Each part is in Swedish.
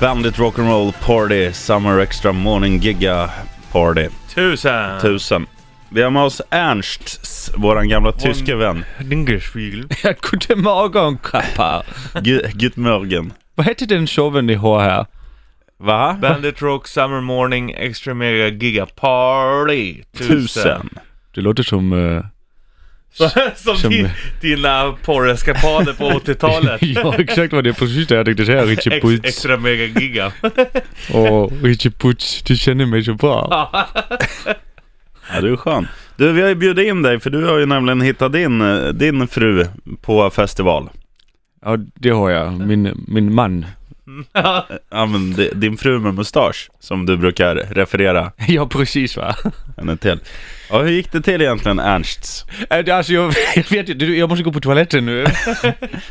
Bandit Rock'n'Roll Party Summer Extra Morning Giga Party Tusen! 1000. Vi har med oss Ernst, våran gamla tyske vän. Dinkelspiegel. Ja, guten Morgon, Kappa. Gu- Gut Morgen. Vad heter den showen ni har här? Va? Bandit Rock Summer Morning Extra Mega Giga Party. Tusen. Det låter som... eh, Som Som- din, dina porreskapader på 80-talet. ja, typ exakt vad det är precis det jag tänkte säga. Richie Ex, Puts. extra Mega Giga. Och Richie Puts, du känner mig så bra. Ah. Ja, du är skön. Du, vi har ju bjudit in dig för du har ju nämligen hittat din, eh, din fru på festival. Ja, det har jag. Min, min man. Ja, men di- din fru med mustasch som du brukar referera Ja, precis va. henne till. Ja, hur gick det till egentligen Ernsts? Äh, Alltså jag, jag vet inte, jag måste gå på toaletten nu.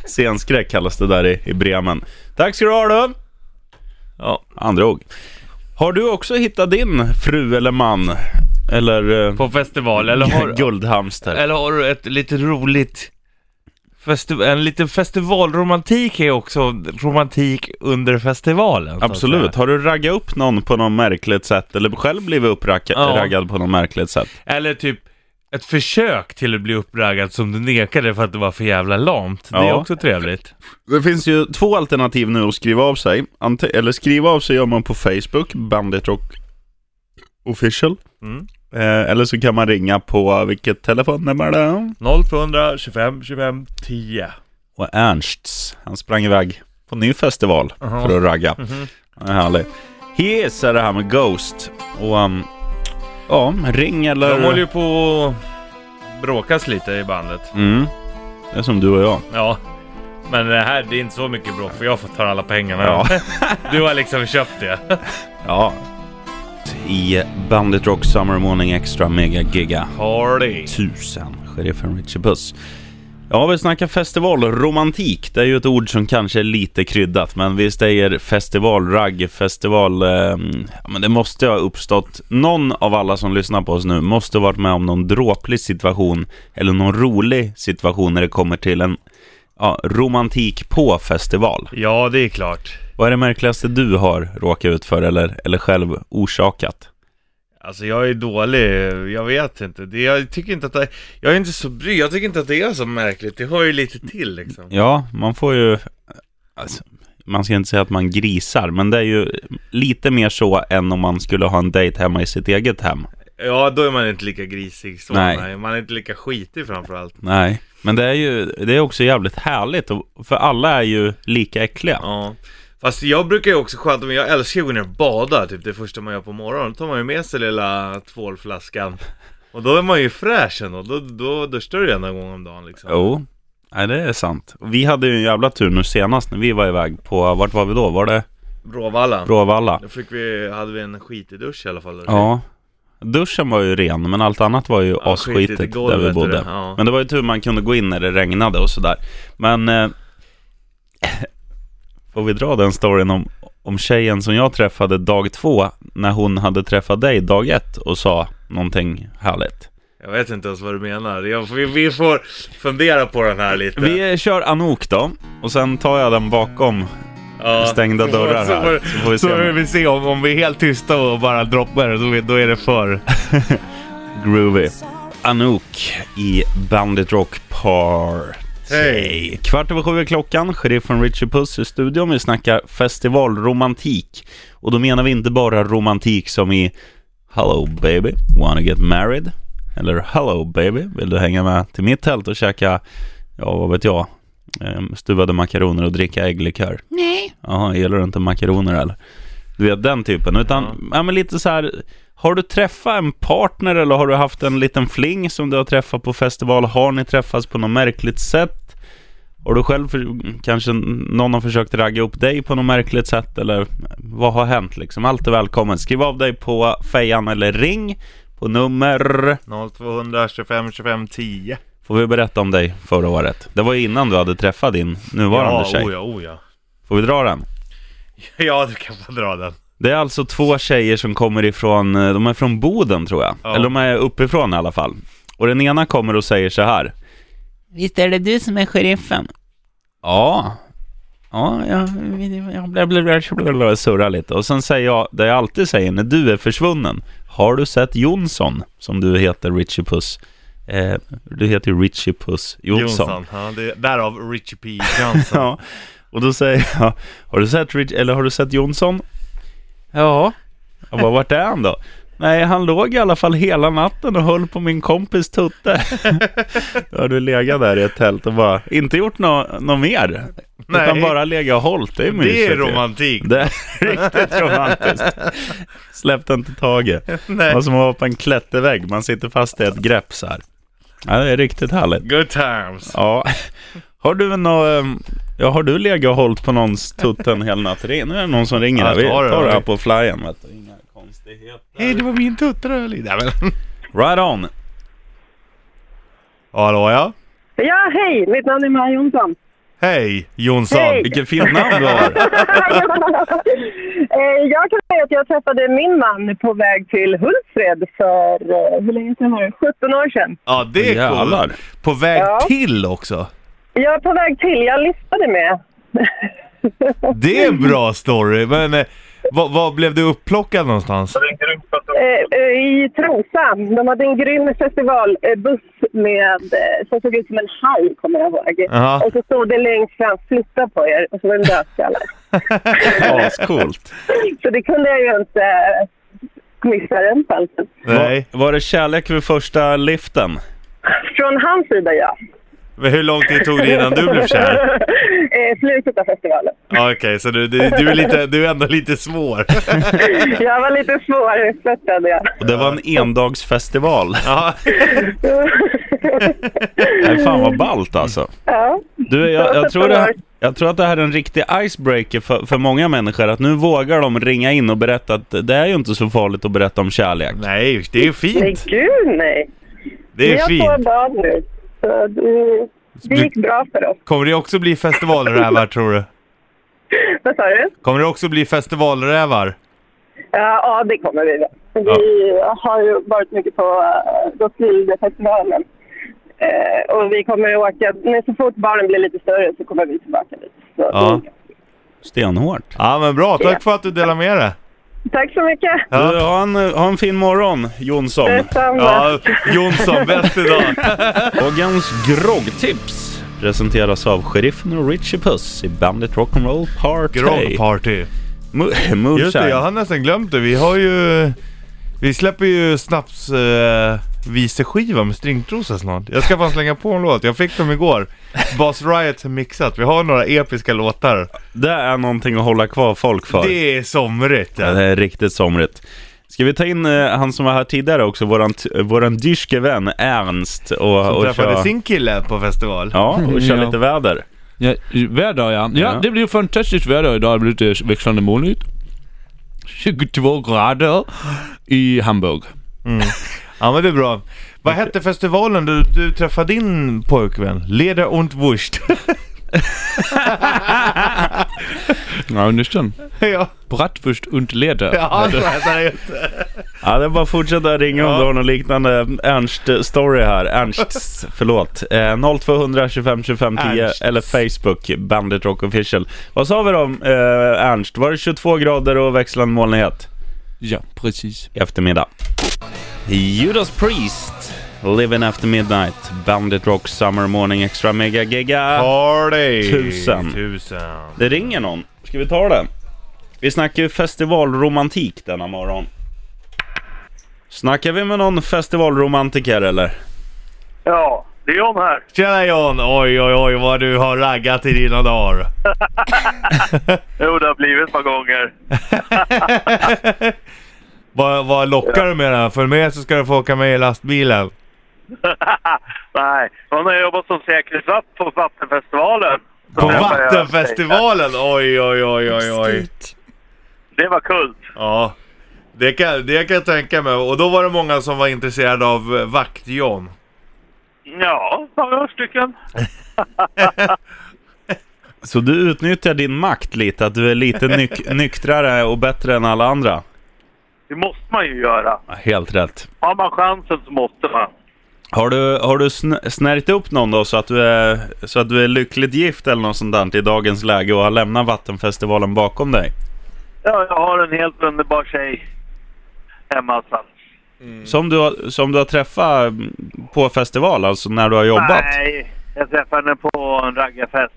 Scenskräck kallas det där i, i Bremen. Tack ska du ha du! Ja, Andra ord. Har du också hittat din fru eller man? Eller eh, på festival. Eller har, guldhamster? eller har du ett lite roligt... Festi- en liten festivalromantik är också romantik under festivalen. så att Absolut. säga. Har du raggat upp någon på något märkligt sätt? Eller själv blivit Ja. uppraggad på något märkligt sätt? Eller typ ett försök till att bli uppraggad som du nekade för att det var för jävla lamt. Det är Ja. också trevligt. Det finns ju två alternativ nu att skriva av sig. Ante- eller skriva av sig gör man på Facebook, Bandit Rock Official. Mm. Eh, eller så kan man ringa på, vilket telefonnummer det är? 0200 25 25 10. Och Ernsts, han sprang iväg på ny festival för att ragga. Han är härlig. Hes är det här med Ghost. Och um, ja, ring eller... De håller ju på att bråkas lite i bandet. Mm. Det är som du och jag. Ja. Men det här, det är inte så mycket bråk för jag får ta alla pengarna. Ja. Du har liksom köpt det. ja. I Bandit Rock Summer Morning Extra Mega Giga. Party. tusen, sheriffen Richie Puss. Ja, vi snackar festivalromantik. Det är ju ett ord som kanske är lite kryddat, men vi säger festivalragg, festival... Eh, ja, men det måste ha uppstått. Någon av alla som lyssnar på oss nu måste ha varit med om någon dråplig situation eller någon rolig situation när det kommer till en ja, romantik på festival. Ja, det är klart. Vad är det märkligaste du har råkat ut för eller, eller själv orsakat? Alltså jag är dålig, jag vet inte. Det, jag tycker inte att det, jag är inte så bry, jag tycker inte att det är så märkligt. Det hör ju lite till liksom. Ja, man får ju... Alltså, man ska inte säga att man grisar, men det är ju lite mer så än om man skulle ha en dejt hemma i sitt eget hem. Ja, då är man inte lika grisig så. Nej. Nej. Man är inte lika skitig framförallt. Nej. Men det är ju det är också jävligt härligt, och, för alla är ju lika äckliga. Ja. Fast jag brukar ju också sköta mig, jag älskar ju att gå ner och bada typ det första man gör på morgonen. Då tar man ju med sig lilla tvålflaskan. Och då är man ju fräsch ändå. Då, då duschar du ju en gång om dagen liksom. Jo, Nej, det är sant. Vi hade ju en jävla tur nu senast när vi var iväg på, vart var vi då? Var det Bråvalla. Bråvalla? Då fick vi, hade vi en skitig dusch i alla fall. Ja. Duschen var ju ren, men allt annat var ju asskitigt skitigt i golvet där vi och bodde. det, ja. Men det var ju tur man kunde gå in när det regnade och sådär. Men... Eh, får vi dra den storyn om, om tjejen som jag träffade dag två, när hon hade träffat dig dag ett och sa någonting härligt? Jag vet inte ens vad du menar. Jag, vi, vi får fundera på den här lite. Vi eh, kör Anouk då, och sen tar jag den bakom Ja. stängda Så- dörrar så här. får- Så får vi Så får se om vi se om, om vi är helt tysta och bara droppar det, då, är- då är det för. groovy. Anouk i Bandit Rock Party. Hej. Kvart över sju är klockan, sheriffen Richie Puss i studion. Vi snackar festivalromantik. Och då menar vi inte bara romantik som i Hello baby, wanna get married? Eller Hello baby, vill du hänga med till mitt tält och käka, ja vad vet jag, ehm, stuvade makaroner och dricka ägglikör? Nej. Jaha, gillar du inte makaroner eller? Du vet den typen, utan ja. men lite så här har du träffat en partner eller har du haft en liten fling som du har träffat på festival? Har ni träffats på något märkligt sätt? Har du själv för, kanske någon har försökt ragga upp dig på något märkligt sätt eller eh, vad har hänt liksom? Allt är välkommen. Skriv av dig på fejan eller ring på nummer 0200 25 25 10. Får vi berätta om dig förra året? Det var ju innan du hade träffat din nuvarande Ja, tjej. oja, oja. Får vi dra den? Ja, du kan få dra den. Det är alltså två tjejer som kommer ifrån, eh, de är från Boden tror jag. Ja. Eller de är uppifrån i alla fall. Och den ena kommer och säger så här. Visst är det du som är sheriffen? Ja. Ja, jag, jag blev- blev- blev- blev- blev- surrar lite. Och sen säger jag det jag alltid säger när du är försvunnen. Har du sett Jonsson, som du heter, Richie Puss? Eh, du heter ju Richie Puss Jonsson. Jonsson. Ja, det, därav Richie P. Johnson. Ja, och då säger jag, har du sett, Rich, eller har du sett Jonsson? Ja. Jag bara, vart är han då? Nej, han låg i alla fall hela natten och höll på min kompis tutte. då har du legat där i ett tält och bara, inte gjort nå- något mer. Nej. Utan bara legat och hållit. Det är mysigt det är ju. romantik. Det är riktigt romantiskt. Släppte inte taget. Det Nej. var som att vara på en klättervägg. Man sitter fast i ett grepp så här. Ja, det är riktigt härligt. Good times. Ja. Har du någon, ja, har du legat och hållit på någons tutten hela natten? Det är- Nu är det någon som ringer. Ja, här. Vi ta det, tar det här hörni. på flyen. Vet du. Inga konstigheter. Hej, det var min tuttröl. Nej, men- Right on. Hallå ja. Ja, hej! Mitt namn är Maja Jonsson. Hej Jonsson. Hej. Vilket fint namn du har. Eh, jag kan säga att jag träffade min man på väg till Hultsfred för, eh, hur länge sedan var det? 17 år sedan. Ja det är Jävlar. coolt. På väg Ja. till också. Jag är på väg till, jag listade med. Det är Mm. en bra story. Men eh, vad, vad blev du upplockad någonstans? Eh, eh, I Trosa, de hade en grym festivalbuss med, eh, som såg ut som en haj kommer jag ihåg. Jaha. Och så stod det längst fram, flytta på er, och så var det dödskallar. Ascoolt. så det kunde jag ju inte eh, missa den chansen. Nej. Var, var det kärlek vid första liften? Från hans sida ja. Men hur lång tid tog det innan du blev kär? Eh, Slutet av festivalen. Ja, Okej, så du, du, du, är lite, du är ändå lite svår. Jag var lite svårflörtad jag. Och det var en endagsfestival. Ja. Nej, fan vad ballt alltså. ja. Du, jag, jag, tror det, jag tror att det här är en riktig icebreaker för, för många människor. Att nu vågar de ringa in och berätta att det är ju inte så farligt att berätta om kärlek. Nej, det är Nej, fint. gud nej. Det Vi är har två fint. barn nu. Så det, det gick bra för oss. Kommer det också bli festivalrävar tror du? Vad sa du? Kommer det också bli festivalrävar? Ja, ja det kommer vi. Vi har ju varit mycket på äh, Gottfriedfestivalen. Eh, och vi kommer att åka, men så fort barnen blir lite större så kommer vi tillbaka dit. Så, Ja. Stenhårt. Ja men bra, tack för att du delar med dig. Tack så mycket. Ja. Du, ha, en, ha en fin morgon, Jonsson. Detsamma. Ja, Jonsson, bäst idag. Dagens groggtips presenteras av Sheriffen och Richie Puss i Bandit Rock'n'Roll Party. Grogparty. Mo- Just det, jag Moonshine. har nästan glömt det. Vi har ju... Vi släpper ju snaps eh, viseskiva med stringtrosa snart. Jag ska fan slänga på en låt. Jag fick dem igår. Boss Riot mixat. Vi har några episka låtar. Det är någonting att hålla kvar folk för. Det är somrigt. Ja, Ja. det är riktigt somrigt. Ska vi ta in eh, han som var här tidigare också, våran, t- våran dyrske vän Ernst och, Som och träffade köra, sin kille på festival. ja, och köra Ja. lite väder. Ja, hver dag, ja. Ja, Ja. det blir fantastiskt väder idag. Det øh, blir lite växlande molnigt. 22 grader i Hamburg. Ja men det är bra. Vad hette festivalen du, du träffade din pojkvän? Leder und Wurst. Ja, nästan. ja, Bratwurst und Leder. ja så heter det ju. Ja, det är bara att fortsätta ringa om Ja. du har någon liknande Ernst-story här. Ernsts, förlåt. Eh, 0200 25 25 10 Ernsts. eller Facebook, Bandit Rock Official. Vad sa vi då om eh, Ernst? Var det 22 grader och växlande molnighet ja precis. i eftermiddag? Judas Priest, Living After Midnight, Bandit Rock Summer Morning Extra Mega Giga. Party! Tusen. Tusen. Det ringer någon. Ska vi ta den? Vi snackar ju festivalromantik denna morgon. Snackar vi med någon festivalromantiker eller? Ja, det är John här. Tjena John! Oj oj oj vad du har raggat i dina dagar. Jo, det har blivit ett par gånger. Vad, vad lockar du med det här? Följ med så ska du få åka med i lastbilen. Nej, hon har jobbat som säkerhetsvakt på Vattenfestivalen. Så På det var jag- Vattenfestivalen! Oj oj oj oj oj. Det var kul. Ja. Det kan, det kan jag tänka mig. Och då var det många som var intresserade av eh, vakt-John. Ja, några stycken. Så du utnyttjar din makt lite, att du är lite nyk- nyktrare och bättre än alla andra? Det måste man ju göra. Ja, Helt rätt. Har man chansen så måste man. Har du, har du sn- snärjt upp någon då så att, du är, så att du är lyckligt gift eller något sånt där i dagens läge och har lämnat Vattenfestivalen bakom dig? Ja, jag har en helt underbar tjej hemma alltså. Som, du har, som du har träffat mm, på festival, alltså när du har jobbat? Nej, jag träffade henne på en raggarfest.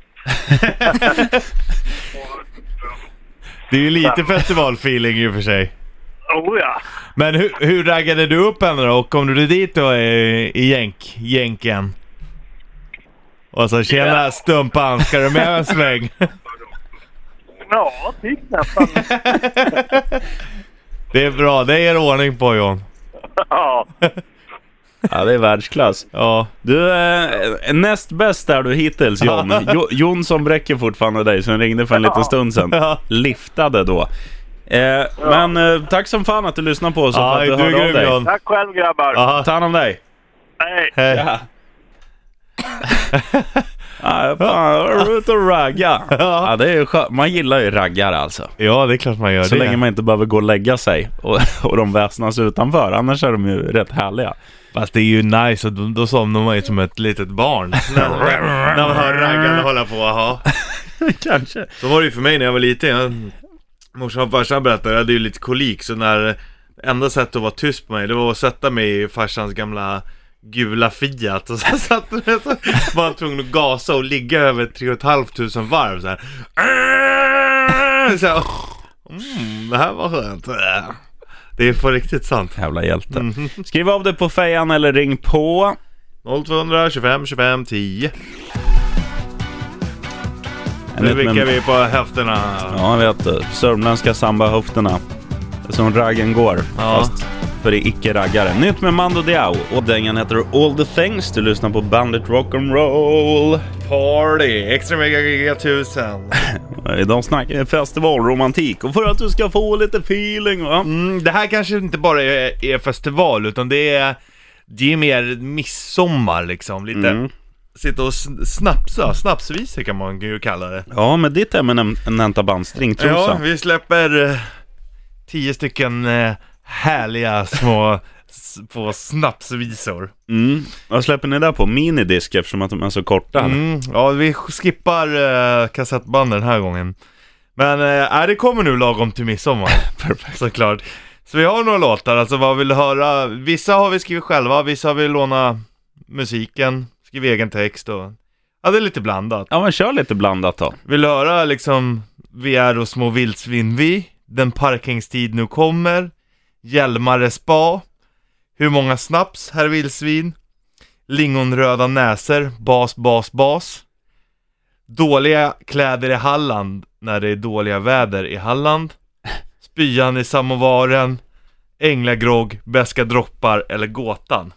Det är ju lite festivalfeeling i och för sig. Oh ja! Men hur, hur raggade du upp henne då? Och kom du dit då i, i jänk, jänken? Och så tjena stumpan, ska du med en sväng? Ja, typ nästan. Det är bra, det är ordning på John. ja. Ja, det är världsklass. Ja. Du, eh, näst bäst är du hittills Jon. Jo, Jonsson bräcker fortfarande dig, som ringde för en liten stund sedan. Ja. Liftade då. Eh, Men eh, tack som fan att du lyssnade på oss och Ja, för att du du är hörde av grym dig. John. Tack själv grabbar. Ja. Ta hand om dig. Hej. Hej. Ja. Ja, fan, ut och ragga. Ja. Ja, det är ju skönt. Man gillar ju raggar alltså. Ja, det är klart man gör Så det. länge man inte behöver gå och lägga sig och, och de väsnas utanför. Annars är de ju rätt härliga. Fast det är ju nice, och då, då somnar man ju som ett litet barn. när, när man hör raggarna hålla på, aha. Kanske. Så var det ju för mig när jag var liten. Jag, morsan och farsan berättade, jag hade ju lite kolik så när enda sättet att vara tyst på mig det var att sätta mig i farsans gamla gula Fiat och så satt jag så var jag tvungen att gasa och ligga över 3 500 varv så här. Så här, mm, det här var skönt. Det är på riktigt sant. Jävla hjälte. Mhm. Skriv av dig på fejan eller ring på. 0200 25 25 10. Nu liten- vickar vi på höfterna. Ja, vet du. Sörmländska sambahöfterna. Som raggen går. Ja. Fast för det är icke-raggare. Nytt med Mando Diao. Och dängan heter All the things. Du lyssnar på Bandit Rock'n'Roll. Party! Extra mega giga 1000. Idag snackar vi festivalromantik. Och för att du ska få lite feeling va. Mm, det här kanske inte bara är, är festival, utan det är, det är mer midsommar liksom. Lite sitta och sn- snapsa, snapsvisor kan man ju kalla det. Ja, med ditt Eminem Nanta Band Ja, stringtrosa. vi släpper eh, tio stycken eh, härliga små s- på snapsvisor. Mm. Vad släpper ni där på? Minidisk eftersom att de är så korta. Mm, ja, vi skippar eh, kassettbanden den här gången. Men eh, äh, det kommer nu lagom till midsommar. Perfekt. Såklart. Så vi har några låtar, alltså vad vill du höra? Vissa har vi skrivit själva, vissa har vi lånat musiken, skrivit egen text och... Ja, det är lite blandat. Ja, men kör lite blandat då. Vill du höra liksom Vi är och små vildsvin vi, Den parkingstid nu kommer, Hjälmare spa, Hur många snaps herr vildsvin, Lingonröda näser, bas, bas, bas, Dåliga kläder i Halland när det är dåliga väder i Halland, Spyan i samovaren, Änglagrogg, Beska droppar eller Gåtan.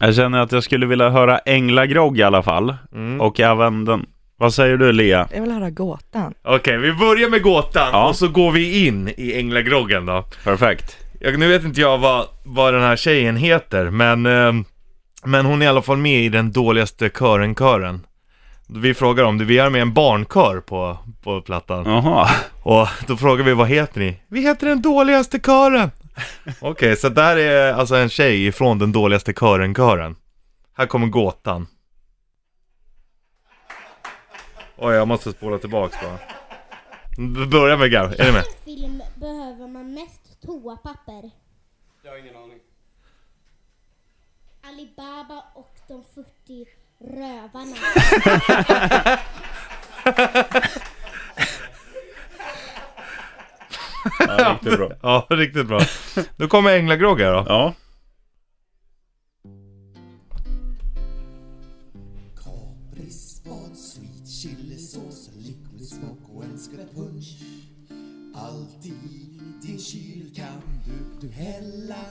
Jag känner att jag skulle vilja höra Änglagrogg i alla fall. Mm. Och även den... Vad säger du Lea? Jag vill höra gåtan. Okej, vi börjar med Gåtan Ja. och så går vi in i Änglagroggen då. Perfekt. Jag, nu vet inte jag vad, vad den här tjejen heter, men, ehm, men hon är i alla fall med i den dåligaste kören-kören. Vi frågar om det, vi har med en barnkör på, på plattan. Jaha. Och då frågar vi vad heter ni? Vi heter den dåligaste kören! Okej, så där är alltså en tjej ifrån den dåligaste kören-kören. Här kommer gåtan. Oj, jag måste spola tillbaks bara. B- Börja med Gar, är ni med? film behöver man mest toapapper? Jag har ingen aning. Alibaba och de 40 rövarna. Ja, riktigt bra. Ja, riktigt bra. Då kommer Änglagrogg här då. Ja. Capris, bad, sweet chilisås, liquid smoke och en skvätt punch. Allt i din kyl kan du, du hälla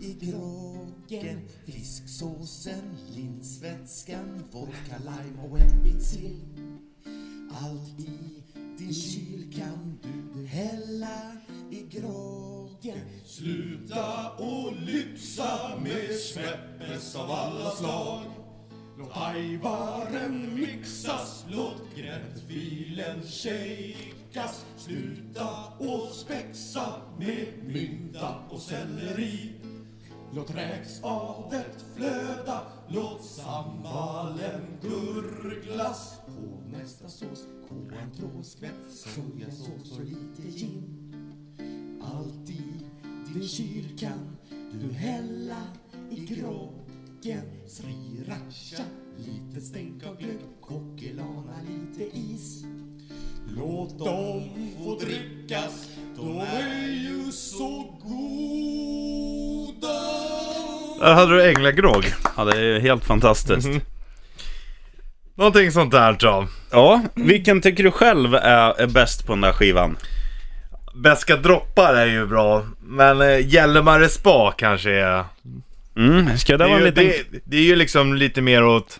i groggen. Fisksåsen, linsvätskan, vodka, lime och en bit sill. Allt i din kyl kan du hälla i groggen. Sluta och lyxa med smäppes av alla slag. Låt ajvaren mixas, låt gräddfilen shakas. Sluta och spexa med mynta och selleri. Låt räksadet flöda, låt sambalen gurglas. På nästa sås, koantrås, skvätt sojasås och lite gin. Allt i din kyl kan du hälla i groggen Sriracha, lite stänk av glögg Kokilana, lite is Låt dem få drickas, de är ju så goda Där hade du änglagrogg. Ja, det är ju helt fantastiskt. Mhm. Någonting sånt där tror jag. Ja, vilken tycker du själv är, är bäst på den där skivan? Beska droppar är ju bra, men eh, Hjälmare spa kanske är... Mm, ska det, Det vara en är, ju, liten... det, det är ju liksom lite mer åt...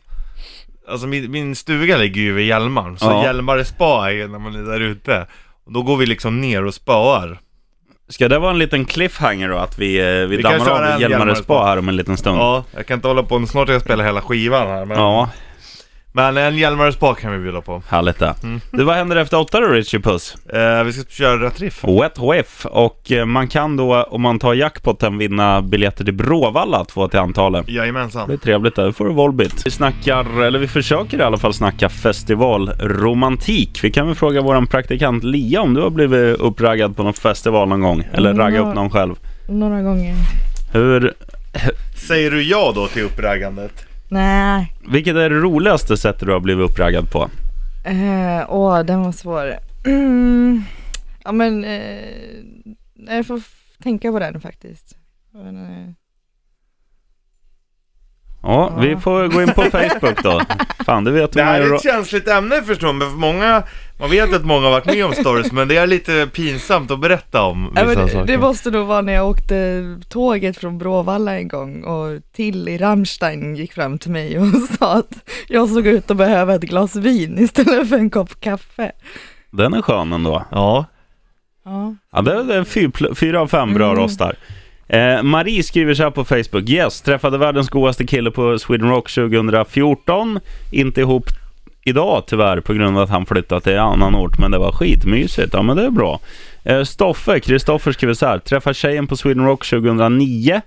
Alltså min, min stuga ligger ju vid Hjälmaren, så Ja. Hjälmare spa är ju när man är där ute. Och då går vi liksom ner och Mm. spaar. Ska det vara en liten cliffhanger då? Att vi, eh, vi, Vi kan köra dammar av en Hjälmare Hjälmare Spa Spa. här om en liten stund? Ja, jag kan inte hålla på, snart ska jag spela hela skivan här. Men, Ja, men en Hjälmare spa kan vi bjuda på. härligt det. Mm. Du, vad händer efter åtta då Richie Puss? Eh, vi ska köra rätt riff. Wet Whiff och eh, man kan då om man tar jackpotten vinna biljetter till Bråvalla, två till antalet. Det Jajamensan. är trevligt där, då får du Volbit. Vi snackar, eller vi försöker i alla fall snacka festivalromantik. Vi kan väl fråga våran praktikant Lia om du har blivit uppraggad på någon festival någon gång? Eller Mm. ragga upp någon själv? Några gånger. Hur, Säger du ja då till uppraggandet? Nej. vilket är det roligaste sättet du har blivit uppraggad på? Eh, åh, den var svår. Mm. Ja men, eh, jag får f- tänka på den faktiskt. eh, Jag vet inte. Ja, vi får gå in på Facebook då. Fan, det vet Det här är man ett känsligt ämne förstår man, för många, man vet att många har varit med om stories, men det är lite pinsamt att berätta om vissa Ja, men det, saker. det måste nog vara när jag åkte tåget från Bråvalla en gång och till i Rammstein gick fram till mig och sa att jag såg ut att behöva ett glas vin istället för en kopp kaffe. Den är skön ändå. Ja. Ja. Ja, det är det är fy- pl- fyra av fem bra rostar. Eh, Marie skriver så här på Facebook. Yes, träffade världens godaste kille på Sweden Rock 2014. Inte ihop idag tyvärr på grund av att han flyttat till annan ort, men det var skitmysigt. Ja, men det är bra. Eh, Stoffe, Kristoffer skriver så här. Träffade tjejen på Sweden Rock 2009.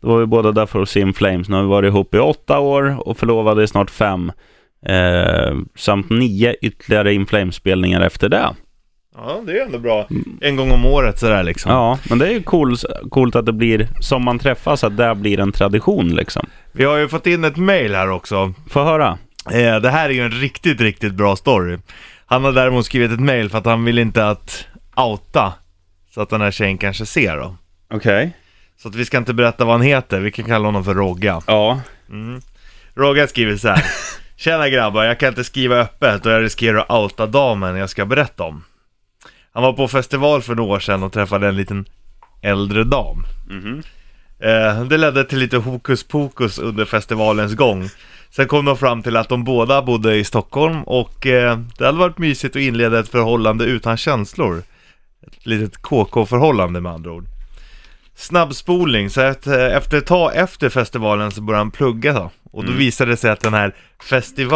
Då var vi båda där för att se In Flames. Nu har vi varit ihop i åtta år och förlovade i snart fem. Eh, samt nio ytterligare In Flames-spelningar efter det. ja, det är ändå bra. En gång om året sådär liksom. Ja, men det är ju cool, coolt att det blir som man träffas, att det blir en tradition liksom. Vi har ju fått in ett mail här också. Få höra. Eh, det här är ju en riktigt, riktigt bra story. Han har däremot skrivit ett mail för att han vill inte att outa, så att den här tjejen kanske ser då. Okej. Så att vi ska inte berätta vad han heter, vi kan kalla honom för Rogga. Ja. Rogga skriver så här. Tjena grabbar, jag kan inte skriva öppet och jag riskerar att outa damen jag ska berätta om. Han var på festival för några år sedan och träffade en liten äldre dam. Eh, det ledde till lite hokus pokus under festivalens gång. Sen kom de fram till att de båda bodde i Stockholm och eh, det hade varit mysigt att inleda ett förhållande utan känslor. Ett litet KK-förhållande med andra ord. Snabbspolning, så att eh, efter ett tag efter festivalen så började han plugga då. Och Mm. då visade det sig att den här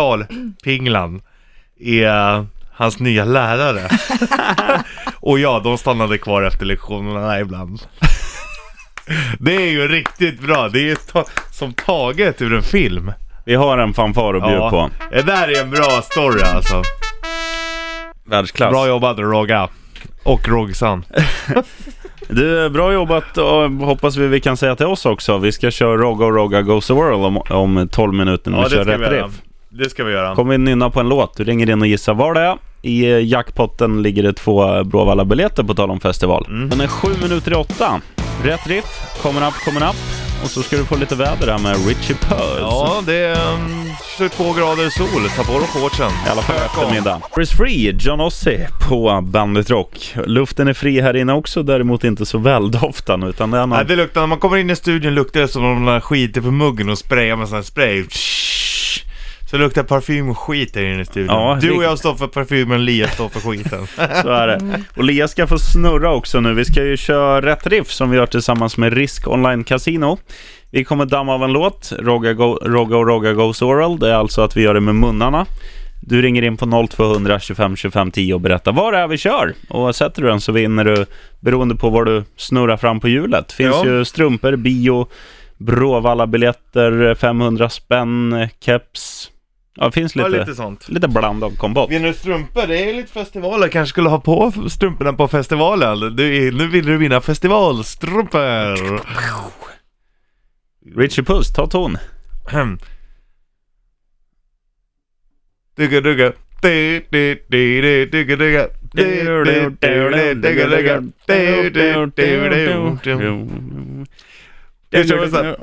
festivalpinglan är eh, hans nya lärare. och ja, de stannade kvar efter lektionerna ibland. det är ju riktigt bra, det är ju ta- som taget ur en film. Vi har en fanfar att bjuda på. det där är en bra story alltså. Världsklass. Bra jobbat Rogga. Och Rogsan. Du, bra jobbat och hoppas vi, vi kan säga till oss också. Vi ska köra Rogga och Rogga Goes the World om, om 12 minuter när vi kör rätt göra. riff. Det ska vi göra. Kommer vi nynna på en låt. Du ringer in och gissar vad det är. I eh, jackpotten ligger det två eh, Bråvalla-biljetter på tal om festival. Den är sju minuter i åtta. Rätt riff, coming up, coming up. Och så ska du få lite väder här med Richie Puss. Ja, det är um, 22 grader sol. Ta på dig shortsen. I alla fall eftermiddag. Chris Free, John Ossie på Bandit Rock. Luften är fri här inne också, däremot inte så väldoftande utan det är någon... Nej, det luktar, när man kommer in i studion luktar det som om de har skitit på muggen och sprayar med sån här spray. Så det luktar parfym och skit där inne i studion. Ja, du och det- jag står för parfymen, Lia står för skiten. Så är Mm. det. Och Lea ska få snurra också nu. Vi ska ju köra Rätt Riff som vi gör tillsammans med Risk Online Casino. Vi kommer damma av en låt, Rogga, go, Rogga och Rogga Goes Oral. Det är alltså att vi gör det med munnarna. Du ringer in på 0200 25 25 10 och berättar vad det är vi kör. Och sätter du den så vinner du, beroende på vad du snurrar fram på hjulet. Finns Ja. ju strumpor, bio, Bråvalla-biljetter, 500 spänn, keps. Ja, det finns Ja, lite, lite lite... sånt. bland av kombott. Vinner du strumpor? Det är lite festivaler, kanske skulle ha på f- strumporna på festivalen. Du, är- nu vill du vinna festivalstrumpor! Richie Puss, ta ton. Ahem. Dugga dugga. Du, du, du, du, dugga dugga. Du, du, du, du, dugga dugga. Du, du, du, du, du. Jag kör så här.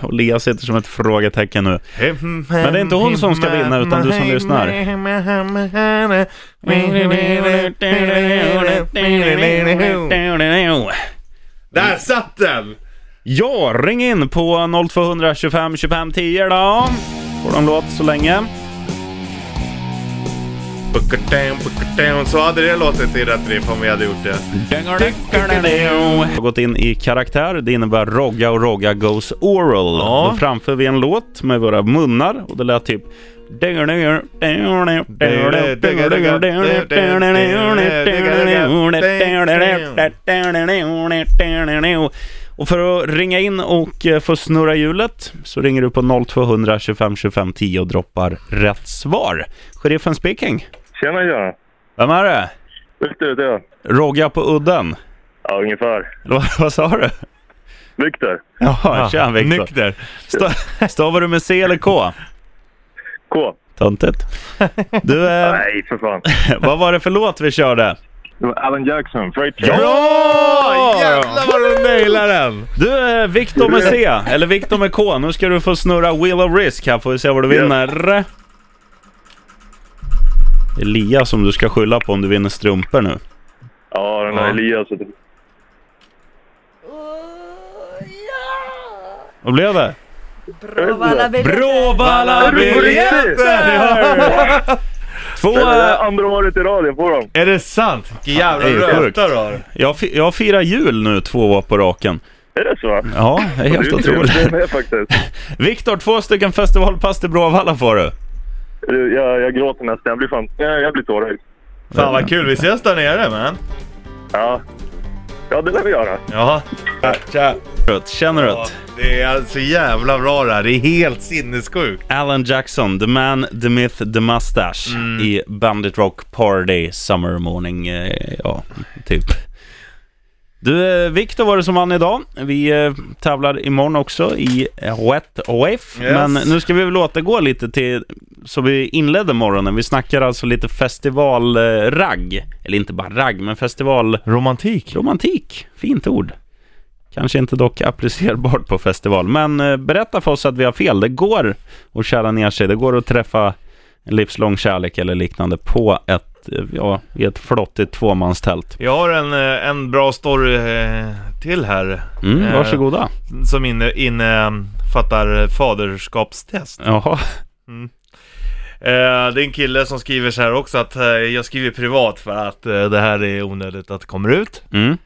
Och Lea sitter som ett frågetecken nu. Men det är inte hon som ska vinna, utan du som lyssnar. Där satt den! Ja, ring in på 0200 25 25 10 då. Får de låt så länge. Puckertam, puckertam. Så hade det låtit i rätt riff om vi hade gjort det. har gått in i karaktär. Det innebär Rogga och Rogga goes oral. Ja. Då framför vi en låt med våra munnar och det lät typ... Och för att ringa in och eh, få snurra hjulet så ringer du på 0200 25 25 10 och droppar rätt svar. Sheriffen speaking. Tjena Göran. Vem är det? Viktor heter jag. Rogga på udden? Ja, ungefär. Eller vad- vad sa du? Viktor. Jaha, tja Viktor. Nykter. Sta- Stavar du med C eller K? K. Töntigt. Du, eh, Nej, för fan. vad var det för låt vi körde? Det var Alan Jackson, Freight Train. Ja! Jävlar vad du nailade den! Du, eh, Viktor med C, eller Viktor med K. Nu ska du få snurra Wheel of Risk här, får vi se vad du vinner. Det är Lia som du ska skylla på om du vinner strumpor nu. Ja, den där Ja. Elias. Vad blev det? Bråvalla Bråvalla biljetter! Två... eh, Det är det andra året i rad på dem. Är det sant? Vilken jävla Det är sjukt. röta du har. Jag, fi- jag firar jul nu två år på raken. Är det så? Ja, det är helt Du, otroligt. Det är med faktiskt. Viktor, två stycken festivalpass till Bråvalla får du. Du, Jag, jag gråter nästan. Jag blir fan... Jag, jag blir tårögd. Fan vad kul, vi ses där nere man. Ja. Ja, det lär vi göra. Ja. Tja. Rött, Känner du det? Det är alltså jävla bra det här. Det är helt sinnessjukt. Alan Jackson, the man, the myth, the mustache i Bandit Rock Party Summer Morning, eh, ja, typ. Du, eh, Viktor var det som vann idag. Vi eh, tävlar imorgon också i eh, Wet Wave. Yes. Men nu ska vi väl återgå lite till, så vi inledde morgonen. Vi snackar alltså lite festivalragg. Eller inte bara ragg, men festival... Romantik. Romantik, fint ord. Kanske inte dock applicerbart på festival, men eh, berätta för oss att vi har fel. Det går att kära ner sig, det går att träffa en livslång kärlek eller liknande på ett, eh, ja, i ett flottigt tvåmanstält. Jag har en, eh, en bra story eh, till här. Mm, Eh, varsågoda. Som inne- innefattar in, faderskapstest. Jaha, Eh, det är en kille som skriver så här också att eh, jag skriver privat för att eh, det här är onödigt att det kommer ut. mm.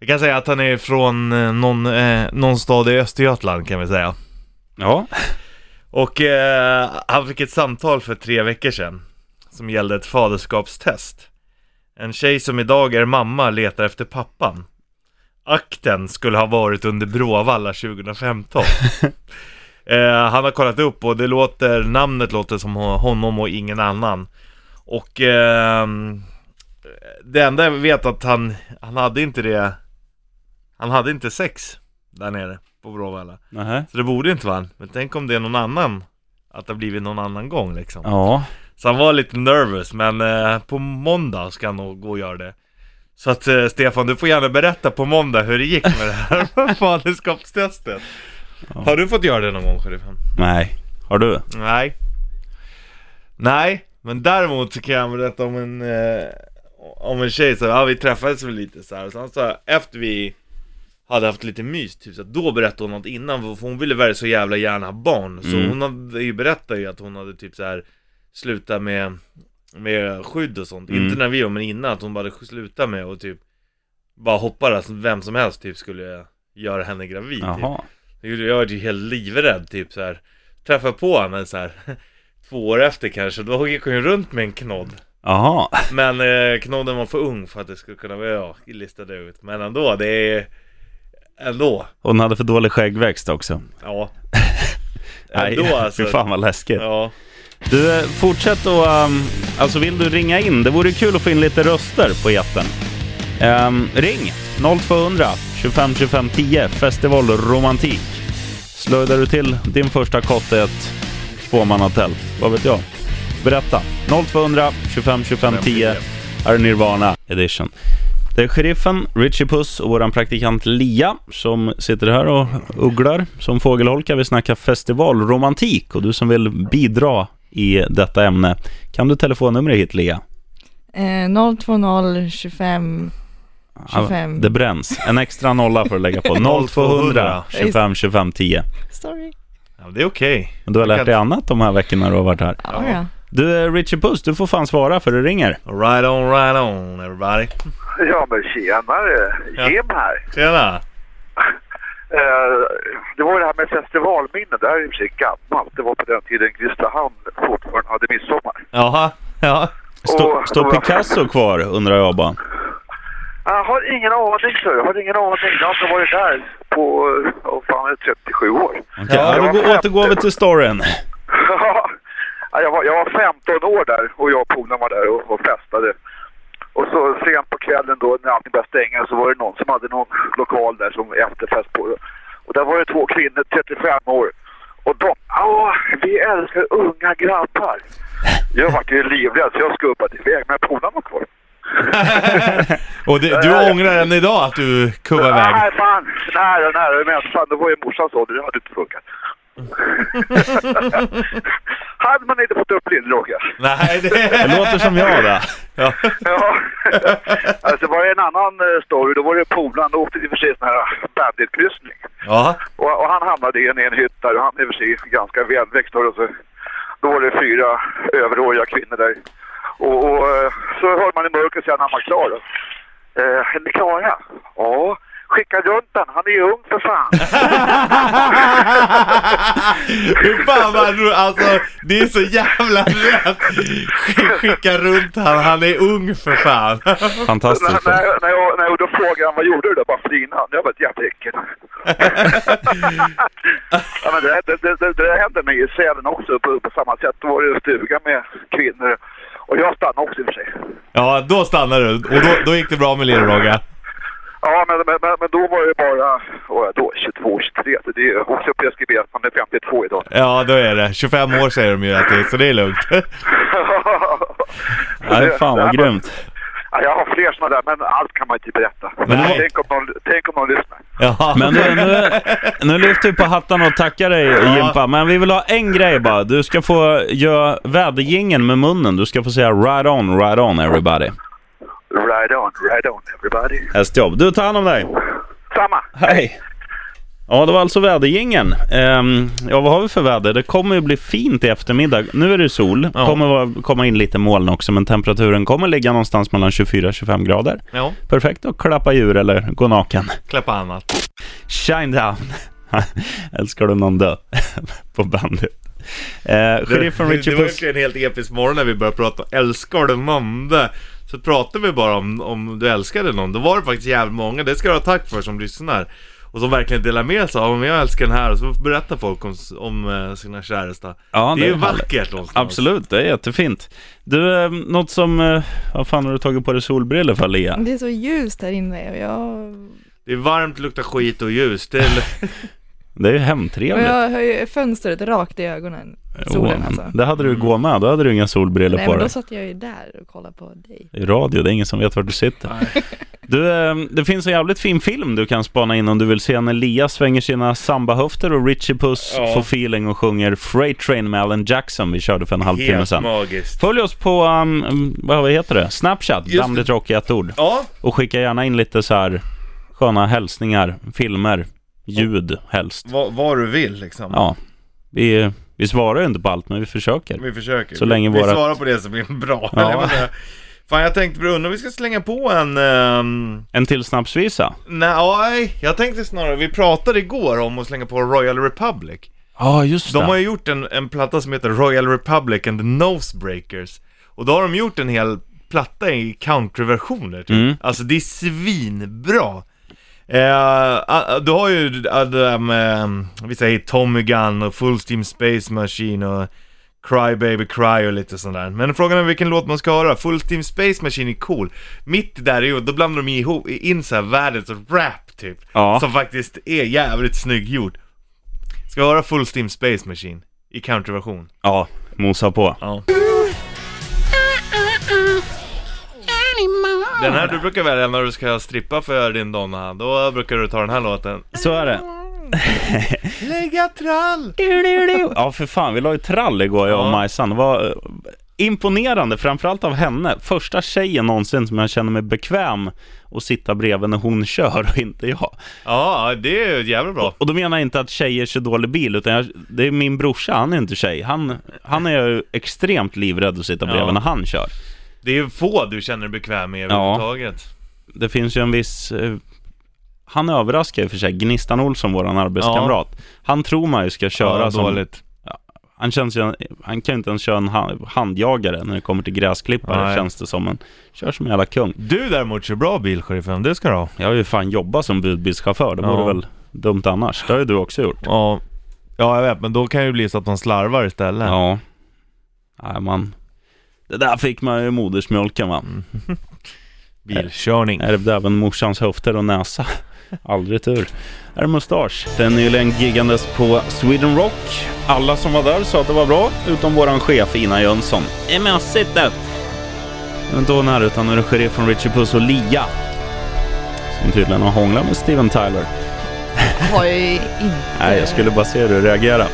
Vi kan säga att han är från eh, någon, eh, någon stad i Östergötland kan vi säga. ja, Och eh, han fick ett samtal för tre veckor sedan som gällde ett faderskapstest. En tjej som idag är mamma letar efter pappan. Akten skulle ha varit under Bråvalla 2015. eh, han har kollat upp och det låter, namnet låter som ho- honom och ingen annan. Och ehm, det enda jag vet att han, han hade inte det, han hade inte sex där nere på Bråvalla. Nähä. Så det borde inte vara han. Men tänk om det är någon annan. Att det har blivit någon annan gång liksom. ja, Så han var lite nervös men eh, på måndag ska han nog gå och göra det. Så att eh, Stefan, du får gärna berätta på måndag hur det gick med det här faderskapstestet. Har du fått göra det någon gång sheriffen? nej. Har du? Nej. Nej, men däremot så kan jag berätta om en, eh, om en tjej så ja vi träffades väl lite så här. och sen så efter vi hade haft lite mys typ så att då berättade hon något innan för hon ville väl så jävla gärna ha barn. Så Mm. hon hade ju berättat ju att hon hade typ så här slutat med, med skydd och sånt. Mm. Inte när vi var men innan att hon bara hade slutat med och typ bara hoppades att vem som helst typ skulle göra henne gravid. Typ. Jaha. Jag jag var ju helt livrädd typ så här. Träffade på henne så här. Två år efter kanske, då gick hon ju runt med en knodd Jaha. Men eh, knodden var för ung för att det skulle kunna vara jag listade ut. Men ändå, det är... Ändå. Hon hade för dålig skäggväxt också. Ja. Nej, Ändå alltså. Fy fan vad läskigt. Ja. Du, eh, fortsätt och... ehm, alltså vill du ringa in? Det vore kul att få in lite röster på jätten. Ehm, ring 0200 25 25 10 Festival Romantik. Slöjdar du till din första kotte i ett tvåmannatält? Vad vet jag? Berätta. 0200 25 25 10 är Nirvana edition. Det är sheriffen, Richie Puss och vår praktikant Lia som sitter här och ugglar som fågelholkar. Vi snackar festivalromantik och du som vill bidra i detta ämne. Kan du telefonnumret hit Lia? Eh, 020 25 25. Det bränns. En extra nolla för att lägga på. 0200 25 25 10. Sorry. ja men det är okej. Men du har lärt dig annat de här veckorna du har varit här. Ja, Ah, ja. Du eh, Richie Puss, du får fan svara för det ringer. Right on, right on everybody. Ja, men tjenare! Ja. Jim här. Tjena! Eh, det var ju det här med festivalminne. Det här är i och för sig gammalt. Det var på den tiden Kristinehamn fortfarande hade midsommar. Jaha, ja. Står Åh, står vad- Picasso kvar undrar jag bara. Jag Ah, har ingen aning, så jag har ingen aning. Jag har inte varit där på, oh, fan, 37 år. Okej, ja, då går- återgår vi till storyn. Ja, jag, var, jag var 15 år där och jag och polaren var där och, och festade. Och så sent på kvällen då när allting började stänga så var det någon som hade någon lokal där som efterfest på. Och där var det två kvinnor, 35 år. Och de, ja vi älskar unga grabbar. Jag vart ju livrädd så jag skubbade iväg men polaren var kvar. Och det, du ångrar än idag att du kubbar iväg? Nej fan, nära nära mässan. Det var ju morsans ålder, det hade inte funkat. hade man inte fått upp lillrogen. Nej, Det det... låter som jag det. Ja. Ja, alltså var det en annan eh, story. Då var det polaren. Då åkte vi för sig en sån här bandit-kryssning. Jaha. Och, och han hamnade i en, i en hytt där och han är i och för sig ganska välväxt. Då, så, då var det fyra överåriga kvinnor där. Och, och eh, så hörde man i mörkret sen när han var klar. Då. Eh, är ni klara? Ja. Skicka runt den. Han är ju ung för fan. Hur fan vad ro- alltså det är så jävla rätt. Sk- Skicka runt han, han är ung för fan. när, Fantastiskt. Eh, när, när, jag, när jag då frågade han vad gjorde du då? Bara flinade. Jag var ett jävla äckel. ja, men det, det, det, det, det hände mig i Sälen också på, på samma sätt. Då var det en stuga med kvinnor. Och jag stannade också i och för sig. Ja, då stannar du och då, då gick det bra med lill Ja, men, men, men, men då var det bara åh, då, 22, 23. Det är ju också preskriberat. Man är 52 idag. Ja, då är det. 25 år säger de ju att det är, så det är lugnt. Nej, fan vad grymt. Ja, jag har fler sådana där, men allt kan man inte berätta. Nej. Tänk, om någon, tänk om någon lyssnar. Ja. Men nu, nu, nu lyfter vi på hattarna och tackar dig Jimpa, men vi vill ha en grej bara. Du ska få göra vädergingen med munnen. Du ska få säga right on, right on everybody. Ride on, ride on everybody. Hästjobb. Du, tar hand om dig. Samma! Hej! Ja, det var alltså vädergingen. Ehm, ja, vad har vi för väder? Det kommer ju bli fint i eftermiddag. Nu är det sol. Ja. kommer vara- komma in lite moln också, men temperaturen kommer ligga någonstans mellan 24-25 grader. Ja, Perfekt att klappa djur eller gå naken. klappa annat. Shine down. Älskar du någon dö på bandet? Eh, sheriffen det, Richie det var Puss. ju en helt episk morgon när vi började prata om älskar du månde? Så pratade vi bara om, om du älskade någon. Då var det faktiskt jävligt många, det ska du ha tack för som lyssnar. Och som verkligen delar med sig av om jag älskar den här och så berättar folk om, om eh, sina käresta. Ja, det, det är ju är härligt. vackert någonstans. Absolut, det är jättefint. Du, eh, något som... Eh, vad fan har du tagit på dig solbrillor för Lea? Det är så ljust här inne och jag, Det är varmt, luktar skit och ljus. Det är... Det är ju och hemtrevligt. jag har ju fönstret rakt i ögonen. Solen Jo, alltså. Det hade Mm. du gå med, då hade du inga solbrillor Nej på men dig. då satt jag ju där och kollade på dig. I radio, det är ingen som vet var du sitter. Du, eh, det finns en jävligt fin film du kan spana in om du vill se när Lia svänger sina sambahöfter och Richie Puss Ja. får feeling och sjunger Freight Train med Alan Jackson vi körde för en halvtimme Helt sedan. magiskt. Följ oss på, um, um, vad heter det, Snapchat, Just Damligt Rock i ett ord. Ja, Och skicka gärna in lite så här sköna hälsningar, filmer, ljud helst. vad, vad du vill liksom. Ja, vi, vi svarar ju inte på allt, men vi försöker. Vi försöker. Så länge vi våra- svarar på det som är bra. Ja. Eller vad det är. Fan jag tänkte, bror, undrar om vi ska slänga på en... ehm, En till snapsvisa. Nej, jag tänkte snarare, vi pratade igår om att slänga på Royal Republic. Ja, just De har ju gjort en, en platta som heter Royal Republic and the Nosebreakers. Och då har de gjort en hel platta i countryversioner typ. Mm. Alltså det är svinbra. Eh, ah, du har ju ah, de, eh, vi säger Tommy Gun och Full Steam Space Machine och Cry Baby Cry och lite sånt där. Men frågan är vilken låt man ska höra. Full Steam Space Machine är cool. Mitt där är ju, då blandar de ihop, in så här världens rap typ. Ja. Som faktiskt är jävligt snygg gjord. Ska vi höra Full Steam Space Machine i countryversion? Ja, mosa på. Ja. Den här du brukar välja när du ska strippa för din donna, då brukar du ta den här låten. Så är det. Lägga trall! Ja, för fan. Vi la ju trall igår, jag och Ja. Majsan. Det var eh, imponerande, framförallt av henne. Första tjejen någonsin som jag känner mig bekväm att sitta bredvid när hon kör och inte jag. Ja, det är ju jävligt bra. Och då menar jag inte att tjejer kör dålig bil, utan jag, det är min brorsa, han är inte tjej. Han, han är ju extremt livrädd att sitta bredvid Ja. när han kör. Det är ju få du känner dig bekväm med Ja. överhuvudtaget. Det finns ju en viss... eh, Han överraskar ju för sig. Gnistan Olsson, våran arbetskamrat. Han tror man ju ska köra som... dåligt. Han, känns ju, han kan ju inte ens köra en ha- handjagare när det kommer till gräsklippare, Nej. känns det som. Men kör som en jävla kung. Du däremot kör bra bil, sheriffen. Det ska du ha. Jag har ju fan jobbat som budbilschaufför. Det Ja. vore väl dumt annars. Det har ju du också gjort. Ja. ja, jag vet, men då kan det ju bli så att man slarvar istället. Ja. Nej, man... Det där fick man ju i modersmjölken va. Bilkörning. Ärvde även morsans höfter och näsa. Aldrig tur. Här är Mustasch. Den nyligen giggandes på Sweden Rock. Alla som var där sa att det var bra, utom våran chef Ina Jönsson. Det är mössigt det. Det är inte hon här, utan nu är det sheriffen Richie Puss och Lia. Som tydligen har hånglat med Steven Tyler. Har ju inte... Nej, jag skulle bara se hur du reagerar.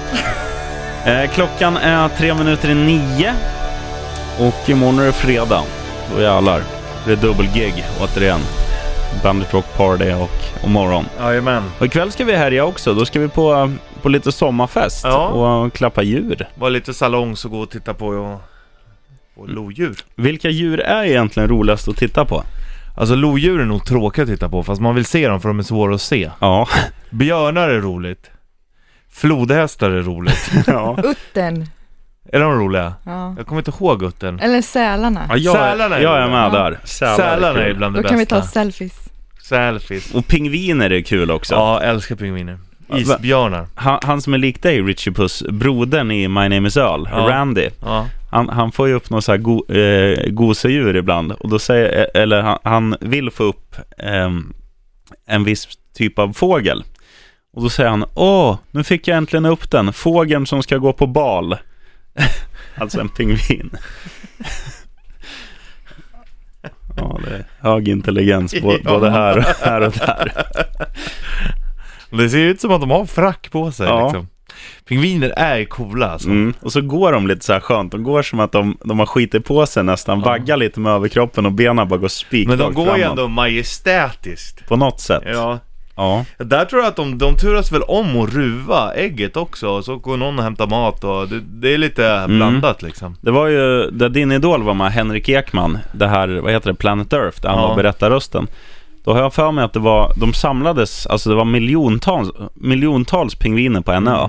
eh, klockan är tre minuter i nio. Och imorgon är det fredag. Då jävlar. Det är dubbelgig återigen. Bandit Rock Party och, och morgon. Jajamän. Och ikväll ska vi härja också. Då ska vi på, på lite sommarfest Ja. och klappa djur. Var lite salongs och gå och titta på och, Mm. och lodjur. Vilka djur är egentligen roligast att titta på? Alltså lodjur är nog tråkiga att titta på, fast man vill se dem för de är svåra att se. Ja. Björnar är roligt. Flodhästar är roligt. ja. Uttern. är de roliga? Ja. Jag kommer inte ihåg uttern. Eller sälarna. jag, Sälarna är jag är med roliga. där. Sälar Sälarna är kul. bland det Då bästa. kan vi ta selfies. Sälfisk. Och pingviner är kul också. Ja, älskar pingviner. Va- Isbjörnar. Han, han som är lik dig, Richie Puss, brodern i My Name Is Earl, Ja. Randy. Ja. Han, han får ju upp några så här go, eh, gosedjur ibland och då säger, eh, eller han, han vill få upp ehm, en viss typ av fågel. Och då säger han, åh, nu fick jag äntligen upp den, fågeln som ska gå på bal. alltså en pingvin. ja, det är hög intelligens bå- Ja. både här och, här och där. Det ser ju ut som att de har frack på sig Ja. liksom. Pingviner är coola alltså. Mm. Och så går de lite så här skönt, de går som att de, de har skitit på sig nästan, vaggar lite med överkroppen och benen bara går spikrakt Men de går ju framåt. ändå majestätiskt. På något sätt. Ja. Ja. Där tror jag att de, de turas väl om att ruva ägget också, och så går någon och hämtar mat och det, det är lite Mm. blandat liksom. Det var ju, där din idol var med, Henrik Ekman, det här, vad heter det, Planet Earth, där han Ja. var berättarrösten. Då har jag för mig att det var, de samlades, alltså det var miljontals, miljontals pingviner på en Mm. ö.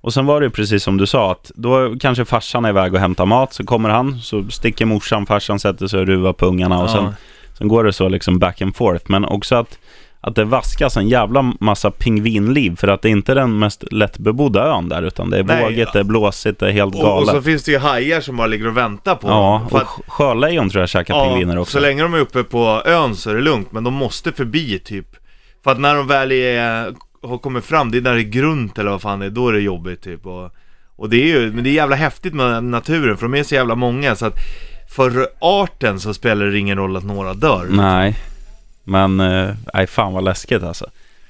Och sen var det ju precis som du sa att då kanske farsan är iväg och hämtar mat, så kommer han, så sticker morsan, farsan sätter sig och ruvar på ungarna och Ja. sen, sen går det så liksom back and forth. Men också att, att det vaskas en jävla massa pingvinliv för att det är inte den mest lättbebodda ön där utan det är Nej, vågigt, det är blåsigt, det är helt Och, galet. och så finns det ju hajar som bara ligger och väntar på Ja, dem. För och att- sj- sjölejon tror jag käkar pingviner också. Så länge de är uppe på ön så är det lugnt, men de måste förbi typ. För att när de väl är, har kommit fram, det är när det är grunt eller vad fan det är, då är det jobbigt typ. Och, och det är ju, men det är jävla häftigt med naturen, för de är så jävla många så att för arten så spelar det ingen roll att några dör. Nej, men eh, nej fan vad läskigt alltså.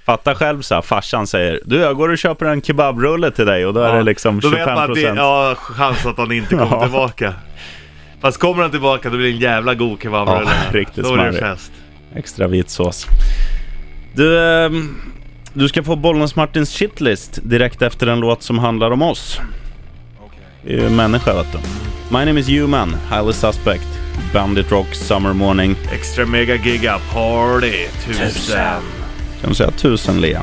Fatta själv så här, farsan säger du jag går och köper en kebabrulle till dig och då är det liksom då 25 vet man att det är ja, chans att han inte kommer Ja. tillbaka. Fast kommer han tillbaka då blir det en jävla god kebabrulle. Ja, riktigt Då är det smarrig. fest. extra vit sås. Du, ehm, du ska få Bollnäs Martins shitlist direkt efter en låt som handlar om oss. Vi är ju människa vet du. My name is Human, Highly Suspect, Bandit Rock, Summer Morning. Extra mega giga party, tusen. Kan du säga tusen Lea?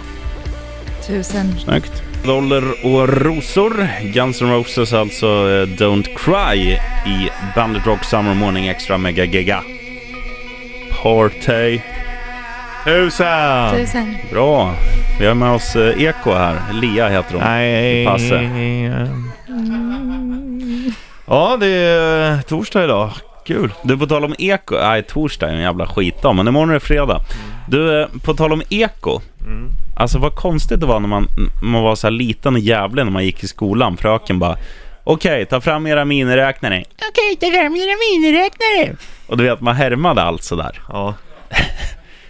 Tusen. Snyggt. Dollar och rosor. Guns N' Roses alltså, eh, Don't Cry i Bandit Rock Summer Morning Extra Mega Giga. Party. Tusen! Tusen. Bra. Vi har med oss eh, Eko här. Lea heter hon. Nej. Passe. Ja, det är torsdag idag. Kul. Du, på tal om Eko. Nej, torsdag är en jävla skitdag, men imorgon är det fredag. Du, eh, på tal om Eko. Alltså vad konstigt det var när man, man var så här liten och jävlig när man gick i skolan. Fröken bara Okej, ta fram era miniräknare. Okej, det där är mina miniräknare. Och du vet, man härmade allt sådär. Ja.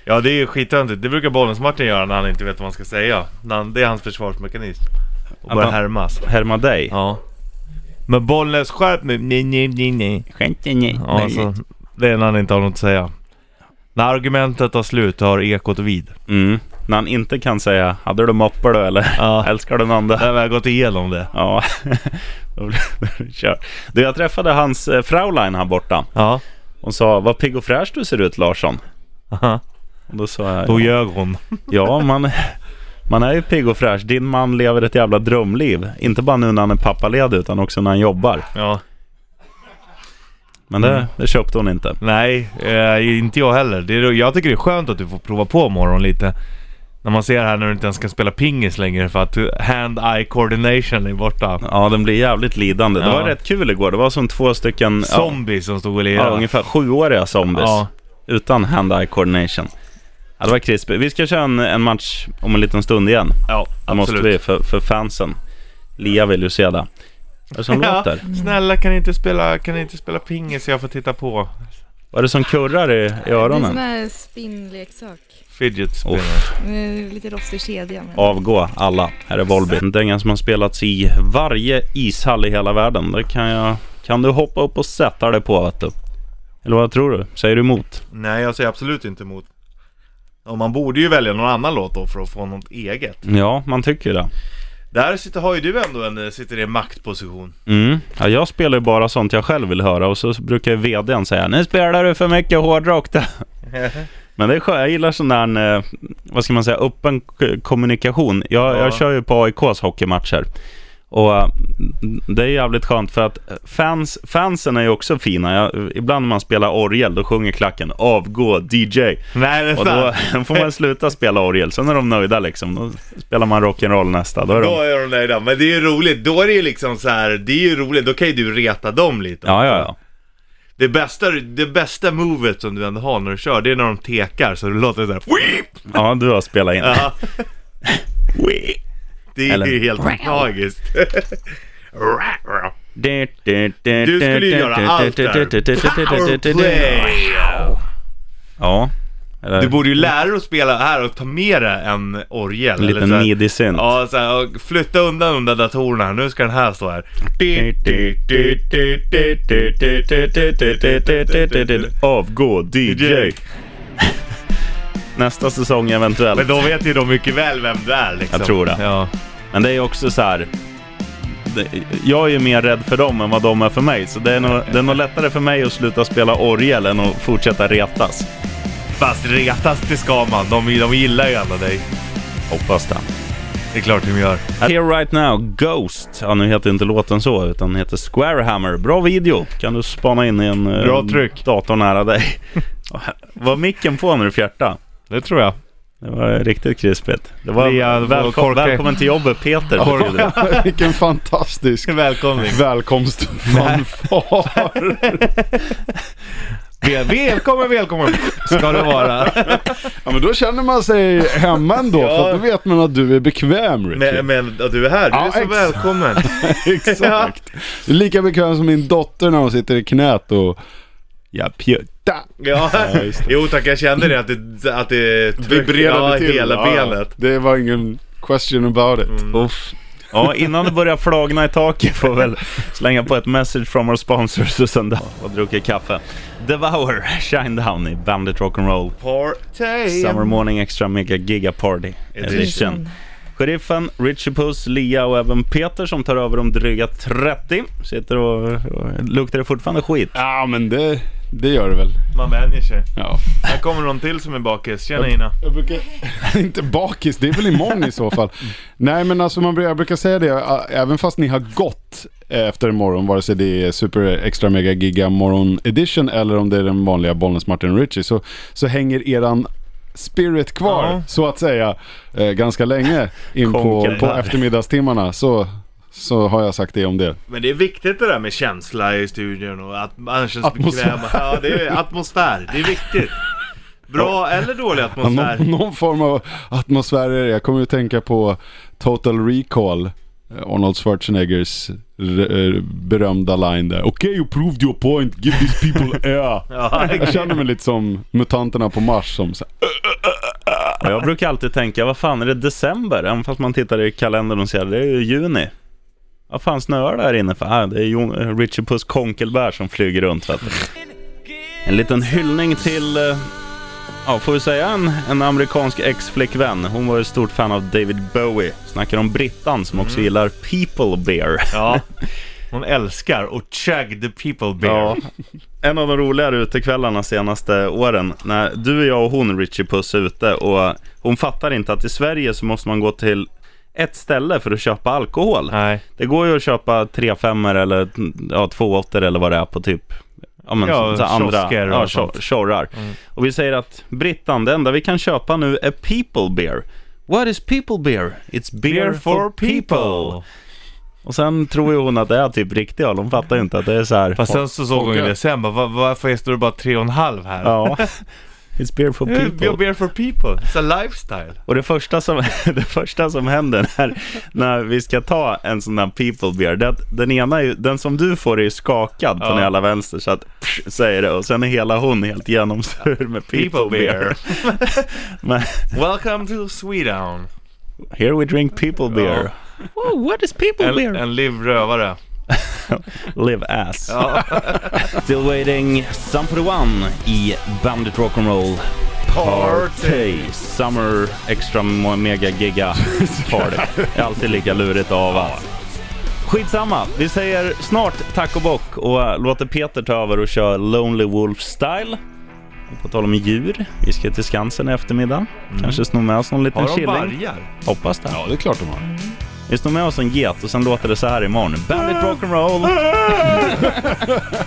Ja det är ju skittöntigt, det brukar Bollnäs-Martin göra när han inte vet vad man ska säga. När han- Det är hans försvarsmekanism. Och Att börja han- härmas. Härma dig. Ja. Men Bollnäs, skärp nu! Nej, nej, nej, nej. Skämt nej. Ja, alltså, det är när han inte har något att säga. När argumentet tar slut tar ekot vid. Mm. När han inte kan säga ”Hade du moppar du eller? Ja. Älskar du någon då?” Där har jag gått igenom det. Ja. Då blir det kört. Du, jag träffade hans eh, Fraulein här borta. Ja. Hon sa ”Vad pigg och fräsch du ser ut Larsson”. Aha. Och då sa jag Då ljög hon. ”Ja, man, man är ju pigg och fräsch. Din man lever ett jävla drömliv. Inte bara nu när han är pappaledig utan också när han jobbar.” Ja. Men det, det köpte hon inte. Nej, eh, inte jag heller. Det är, jag tycker det är skönt att du får prova på morgon lite. När man ser här när du inte ens kan spela pingis längre för att hand-eye coordination är borta. Ja, den blir jävligt lidande. Det Ja. var rätt kul igår. Det var som två stycken... ja. Zombie som stod och Ja, lirade. ungefär sjuåriga zombies. Ja. Utan hand-eye coordination. Ja, det var krispigt. Vi ska köra en, en match om en liten stund igen. Ja, Det måste vi för, för fansen. Lia vill ju se det. Vad är det som Ja, låter? snälla kan ni inte spela, kan ni inte spela pingis så jag får titta på? Vad är det som kurrar i, i Det är en sån öronen? här spinnleksak. Fidget spinner. Uff, Eh, Lite rostig kedja. Men... avgå alla. Här är Volby. En dänga som har spelats i varje ishall i hela världen. Det kan jag... Kan du hoppa upp och sätta dig på vet du? Eller vad tror du? Säger du emot? Nej, jag säger absolut inte emot. Och man borde ju välja någon annan låt då för att få något eget. Ja, man tycker ju det. Där sitter, har ju du ändå en, eh, sitter i en maktposition. Mm. Ja, jag spelar ju bara sånt jag själv vill höra och så brukar ju vdn säga Nu spelar du för mycket hårdrock där. Men det är skönt, jag gillar sån där, eh, vad ska man säga, öppen k- kommunikation. Jag, Ja. jag kör ju på AIKs hockeymatcher. Och eh, det är jävligt skönt för att fans, fansen är ju också fina. Jag, ibland när man spelar orgel då sjunger klacken avgå DJ. Nej, det är Och då får man sluta spela orgel. Sen är de nöjda liksom. Då spelar man rock'n'roll nästa. Då är Då de... är de nöjda, men det är ju roligt, då är det ju liksom så här, det är ju roligt, då kan ju du reta dem lite Ja, ja, ja. Det bästa, det bästa movet som du ändå har när du kör, det är när de tekar så det låter såhär Ja, du har spelat in. Ja. Det är Eller- ju helt magiskt Du skulle Du skulle ju göra allt där Powerplay! Ja. Du Eller borde ju lära dig att spela här och ta med dig en orgel en eller liten så här- midi-synt. Ja, så här, och flytta undan de där datorerna, nu ska den här stå här Avgå DJ. Nästa säsong Men eventuellt. då vet ju de mycket väl vem du är liksom. Jag tror det. Ja. Men det är ju också så här. det- Jag är ju mer rädd för dem än vad de är för mig. Så det är nog, det är nog lättare för mig att sluta spela orgel än att fortsätta retas. Fast retas det ska man. De, de gillar ju ändå dig. Hoppas det. Det är klart de gör. Here right now, Ghost. Ja, nu heter inte låten så, utan den heter Squarehammer. Bra video. Kan du spana in i en eh, Bra tryck. dator nära dig. var micken på när du fjärtade? Det tror jag. Det var riktigt krispigt. Det var Lea, välkom- korka- välkommen till jobbet Peter. betyder det. Vilken fantastisk Välkomning. välkomstfanfar. Väl- Välkommen, välkommen ska du vara. Ja men då känner man sig hemma ändå för att då vet man att du är bekväm Ricky. Men, men att du är här, du Ja, är så ex- välkommen. Exakt. Du är lika bekväm som min dotter när hon sitter i knät och... Ja pjutta. Ja. Jo tack, jag kände det att det, att det tryck- ja, hela benet. Det var ingen question about it. Uff. Ja, innan det börjar flagna i taket får väl slänga på ett message from our sponsors och sen då, och dricka kaffe. Devour, Shine Down i Bandit Rock'n'Roll. Party. Summer Morning Extra Mega Giga Party Edition. Edition. Sheriffen, Richie Puss, Lia och även Peter som tar över om dryga 30. Sitter och, och luktar det fortfarande skit? Ja men det, Det gör det väl? Man vänjer sig. Ja. Här kommer någon till som är bakis. Tjena Ina. Jag brukar... inte bakis, det är väl imorgon i så fall. Nej men alltså man, bru- jag brukar säga det, ä- även fast ni har gått eh, efter imorgon, vare sig det är super extra mega giga morgon edition eller om det är den vanliga Bollnäs Martin Ritchie, så, så hänger eran spirit kvar Ja. så att säga eh, ganska länge in på, Konken på där. eftermiddagstimmarna. Så, så har jag sagt det om det. Men det är viktigt det där med känsla i studion och att man känns Atmosfär. bekväm. Ja, det är atmosfär. Det är viktigt. Bra eller dålig Ja, atmosfär. Någon, någon form av atmosfär är det. Jag kommer att tänka på Total Recall. eh, Arnold Schwarzeneggers r- eh, berömda line där. Okej, okay, you proved your point. Give these people air. Ja, Jag känner mig lite som mutanterna på Mars som så här, Och jag brukar alltid tänka, vad fan är det december? Även fast man tittar i kalendern och ser, det är ju juni. Vad fan snöar det här inne för? Ah, det är Jon- Richie Puss Konkelbär som flyger runt. Vet du. En liten hyllning till, eh, ja får vi säga en, en amerikansk ex-flickvän. Hon var ju ett stort fan av David Bowie. Snackar om Brittan som också gillar People Bear. ja. Hon älskar och chug the people bear. Ja. En av de roligare utekvällarna senaste åren när du, jag och hon, Richie Puss, är ute och hon fattar inte att i Sverige så måste man gå till ett ställe för att köpa alkohol. Nej. Det går ju att köpa 3 5 eller ja, 2 8 eller vad det är på typ Ja, men Ja, så, så andra kiosker och ja, sånt. Mm. tjo- tjorrar. Och vi säger att Brittan, det enda vi kan köpa nu är people beer. What is people beer? It's beer, for people. Och sen tror ju hon att det är typ riktig öl, hon fattar ju inte att det är så här. Fast sen så såg hon ju Okej. det sen bara, "Va- varför står det bara tre och en halv här? Ja. It's beer for Eh, You're people. beer for people. It's a lifestyle. Och det första som, det första som händer när, när vi ska ta en sån där people beer, det är att den ena är ju, den som du får är ju skakad på Ja. den jävla vänster så att psh, säger det och sen är hela hon helt genomsur med people, People beer. beer. Men, Welcome to Sweden. here we drink people beer. Oh, what is people En, beer? en liv rövare. Live ass. Still waiting, Sum 41 i Bandit Rock'n'Roll Party. Summer Extra mo- Mega Giga Party. Det är alltid lika lurigt att ava. Skitsamma, vi säger snart tack och bock och äh, låter Peter ta över och köra Lonely Wolf Style. Och på tal om djur, vi ska till Skansen i eftermiddag. Mm. Kanske sno med oss någon liten Har de killing. vargar? Hoppas det. Ja, det är klart de har. Vi snor med oss en get och sen låter det så här imorgon. Bandit Rock'n'Roll.